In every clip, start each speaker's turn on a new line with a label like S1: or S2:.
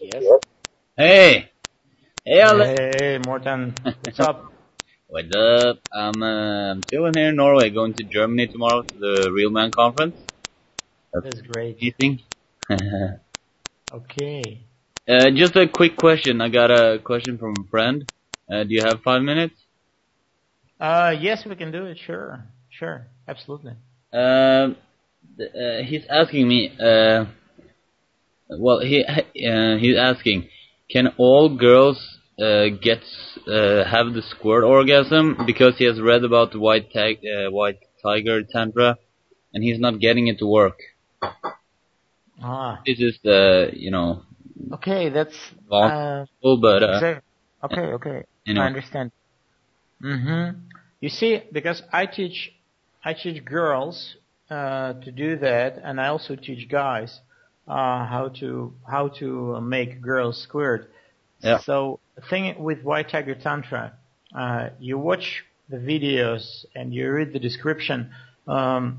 S1: Yes.
S2: Hey! Hey, Ale!
S3: Hey, Morten. What's up?
S2: What's up? I'm, uh, I'm chilling here in Norway, going to Germany tomorrow to the Real Man Conference
S3: That's great.
S2: meeting. uh,
S3: Okay.
S2: just a quick question. I got a question from a friend. Uh, do you have five minutes?
S3: Uh, yes, we can do it. Sure. Sure. Absolutely.
S2: Uh, th- uh, he's asking me. Uh, well, he uh, he's asking, can all girls uh, get uh, have the squirt orgasm? Because he has read about the white tag, uh, white tiger tantra, and he's not getting it to work.
S3: Ah.
S2: This is the you know,
S3: Okay, that's,
S2: Well,
S3: uh,
S2: oh, but uh,
S3: exact- okay, okay. I
S2: you know,
S3: understand. Mm-hmm. You see, because I teach, I teach girls, uh, to do that, and I also teach guys, uh, how to, how to make girls squirt.
S2: Yeah.
S3: So, the thing with White Tiger Tantra, uh, you watch the videos and you read the description, um,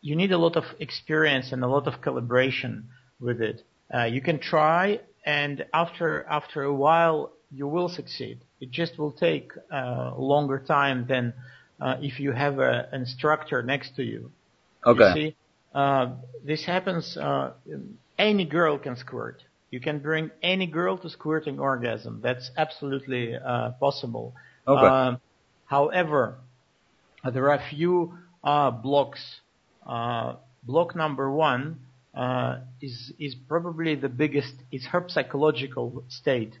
S3: you need a lot of experience and a lot of calibration with it. Uh, you can try, and after after a while, you will succeed. It just will take uh, longer time than uh, if you have an instructor next to you. You
S2: okay,
S3: see, uh, this happens. Uh, any girl can squirt. You can bring any girl to squirting orgasm. That's absolutely uh, possible.
S2: Okay.
S3: Um, however, uh, there are few uh, blocks. Uh, block number one uh, is is probably the biggest. It's her psychological state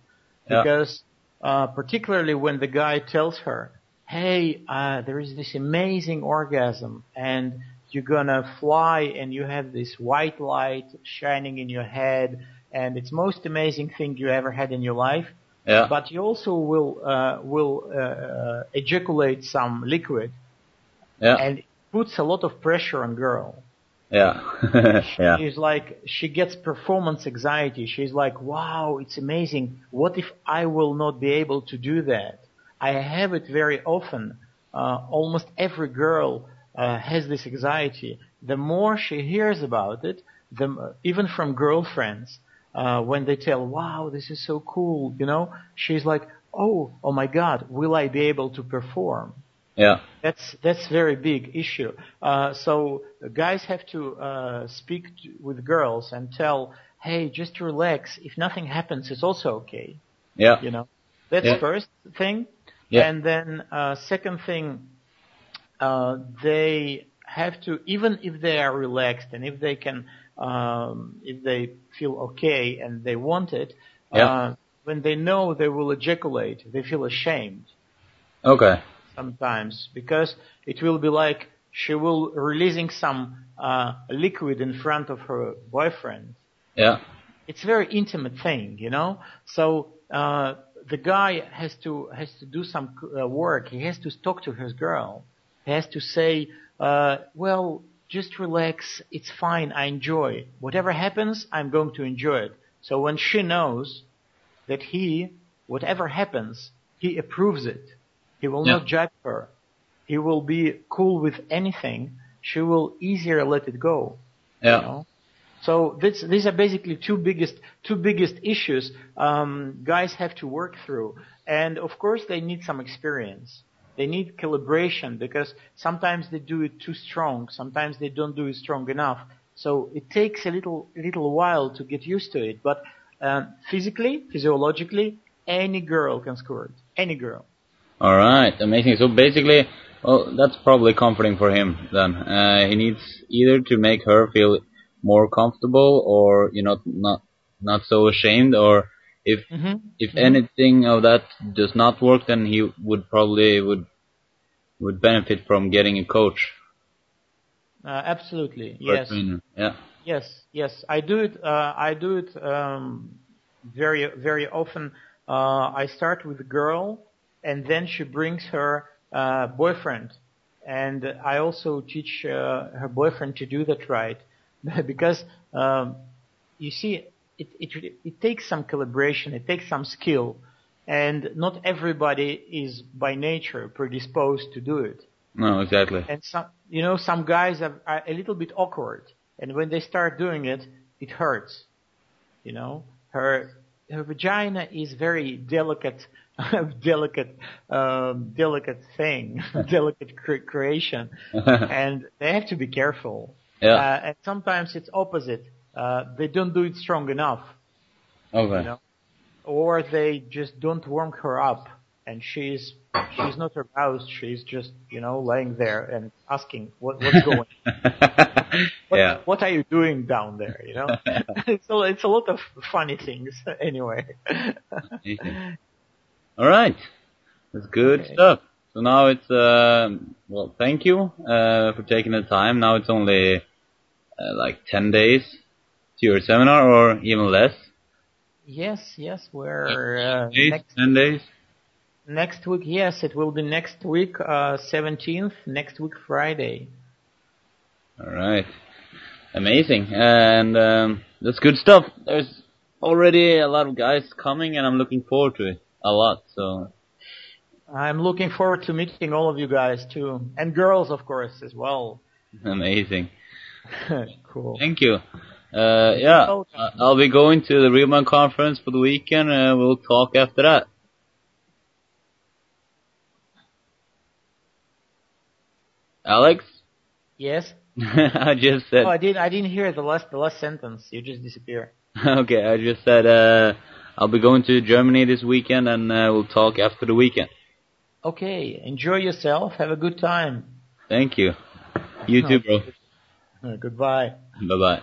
S2: Yeah.
S3: because uh, particularly when the guy tells her, "Hey, uh, there is this amazing orgasm, and you're gonna fly, and you have this white light shining in your head, and it's most amazing thing you ever had in your life."
S2: yeah,
S3: but you also will uh, will uh, uh, ejaculate some liquid,
S2: yeah,
S3: and it puts a lot of pressure on girl.
S2: yeah, yeah,
S3: She's like she gets performance anxiety. She's like, wow, it's amazing. What if I will not be able to do that? I have it very often. Uh, almost every girl uh, has this anxiety. The more she hears about it, the m- even from girlfriends, uh, when they tell, wow, this is so cool, you know, she's like, oh, oh my God, will I be able to perform?
S2: yeah,
S3: That's that's very big issue. Uh, so guys have to uh, speak to, with girls and tell, hey, just relax. If nothing happens, it's also okay.
S2: yeah,
S3: You know, that's
S2: Yeah.
S3: first thing.
S2: Yeah.
S3: And then uh, second thing, uh, they have to even if they are relaxed and if they can, um, if they feel okay and they want it,
S2: Yeah.
S3: uh, when they know they will ejaculate, they feel ashamed
S2: okay,
S3: sometimes because it will be like she will releasing some uh, liquid in front of her boyfriend.
S2: yeah,
S3: It's a very intimate thing, you know. So uh, the guy has to has to do some uh, work. He has to talk to his girl. He has to say, uh, "Well, just relax. It's fine. I enjoy it. Whatever happens, I'm going to enjoy it." So when she knows that he, whatever happens, he approves it. He will
S2: Yeah.
S3: not judge her. He will be cool with anything. She will easier let it go. You
S2: yeah,
S3: know? So this, these are basically two biggest two biggest issues um, guys have to work through, and of course they need some experience. They need calibration because sometimes they do it too strong, sometimes they don't do it strong enough. So it takes a little little while to get used to it. But um, physically, physiologically, any girl can squirt. Any girl.
S2: All right, amazing. So basically, well, that's probably comforting for him then. Uh, he needs either to make her feel more comfortable, or you know, not not so ashamed, or if
S3: Mm-hmm.
S2: if anything of that does not work, then he would probably would would benefit from getting a coach
S3: Uh, absolutely.
S2: or a
S3: Yes.
S2: trainer. Yeah,
S3: Yes, yes, I do it. Uh, I do it um, very, very often. Uh, I start with a girl, and then she brings her uh, boyfriend, and I also teach uh, her boyfriend to do that right, because um, you see, it, it it takes some calibration, it takes some skill, and not everybody is by nature predisposed to do it
S2: no, exactly.
S3: and some you know some guys are, are a little bit awkward and when they start doing it it hurts you know her her vagina is very delicate, delicate, um, delicate thing, delicate cre- creation, and they have to be careful.
S2: Yeah.
S3: Uh, and sometimes it's opposite. Uh, they don't do it strong enough,
S2: Okay.
S3: uh, you know, or they just don't warm her up, and she's she's not aroused. She's just you know laying there and asking what, what's going. What,
S2: yeah.
S3: what are you doing down there? You know, it's a, it's a lot of funny things anyway.
S2: All right. That's good
S3: Okay.
S2: stuff. So now it's um well, thank you uh, for taking the time. Now it's only uh, like ten days to your seminar, or even less.
S3: yes, yes, we're uh,
S2: Eight,
S3: next
S2: ten days.
S3: next week. Yes, it will be next week, uh, seventeenth, next week Friday.
S2: All right. Amazing. And um, that's good stuff. There's already a lot of guys coming, and I'm looking forward to it a lot. So
S3: I'm looking forward to meeting all of you guys too, and girls, of course, as well.
S2: amazing.
S3: cool.
S2: Thank you. Uh, yeah,
S3: welcome.
S2: I- I'll be going to the Realman conference for the weekend. Uh, we'll talk after that. Alex,
S3: Yes.
S2: I just said
S3: Oh, I did. I didn't hear the last the last sentence. You just disappear.
S2: okay. I just said uh, I'll be going to Germany this weekend, and uh, we'll talk after the weekend.
S3: Okay. Enjoy yourself. Have a good time.
S2: Thank you. You too, bro.
S3: Uh, goodbye.
S2: Bye bye.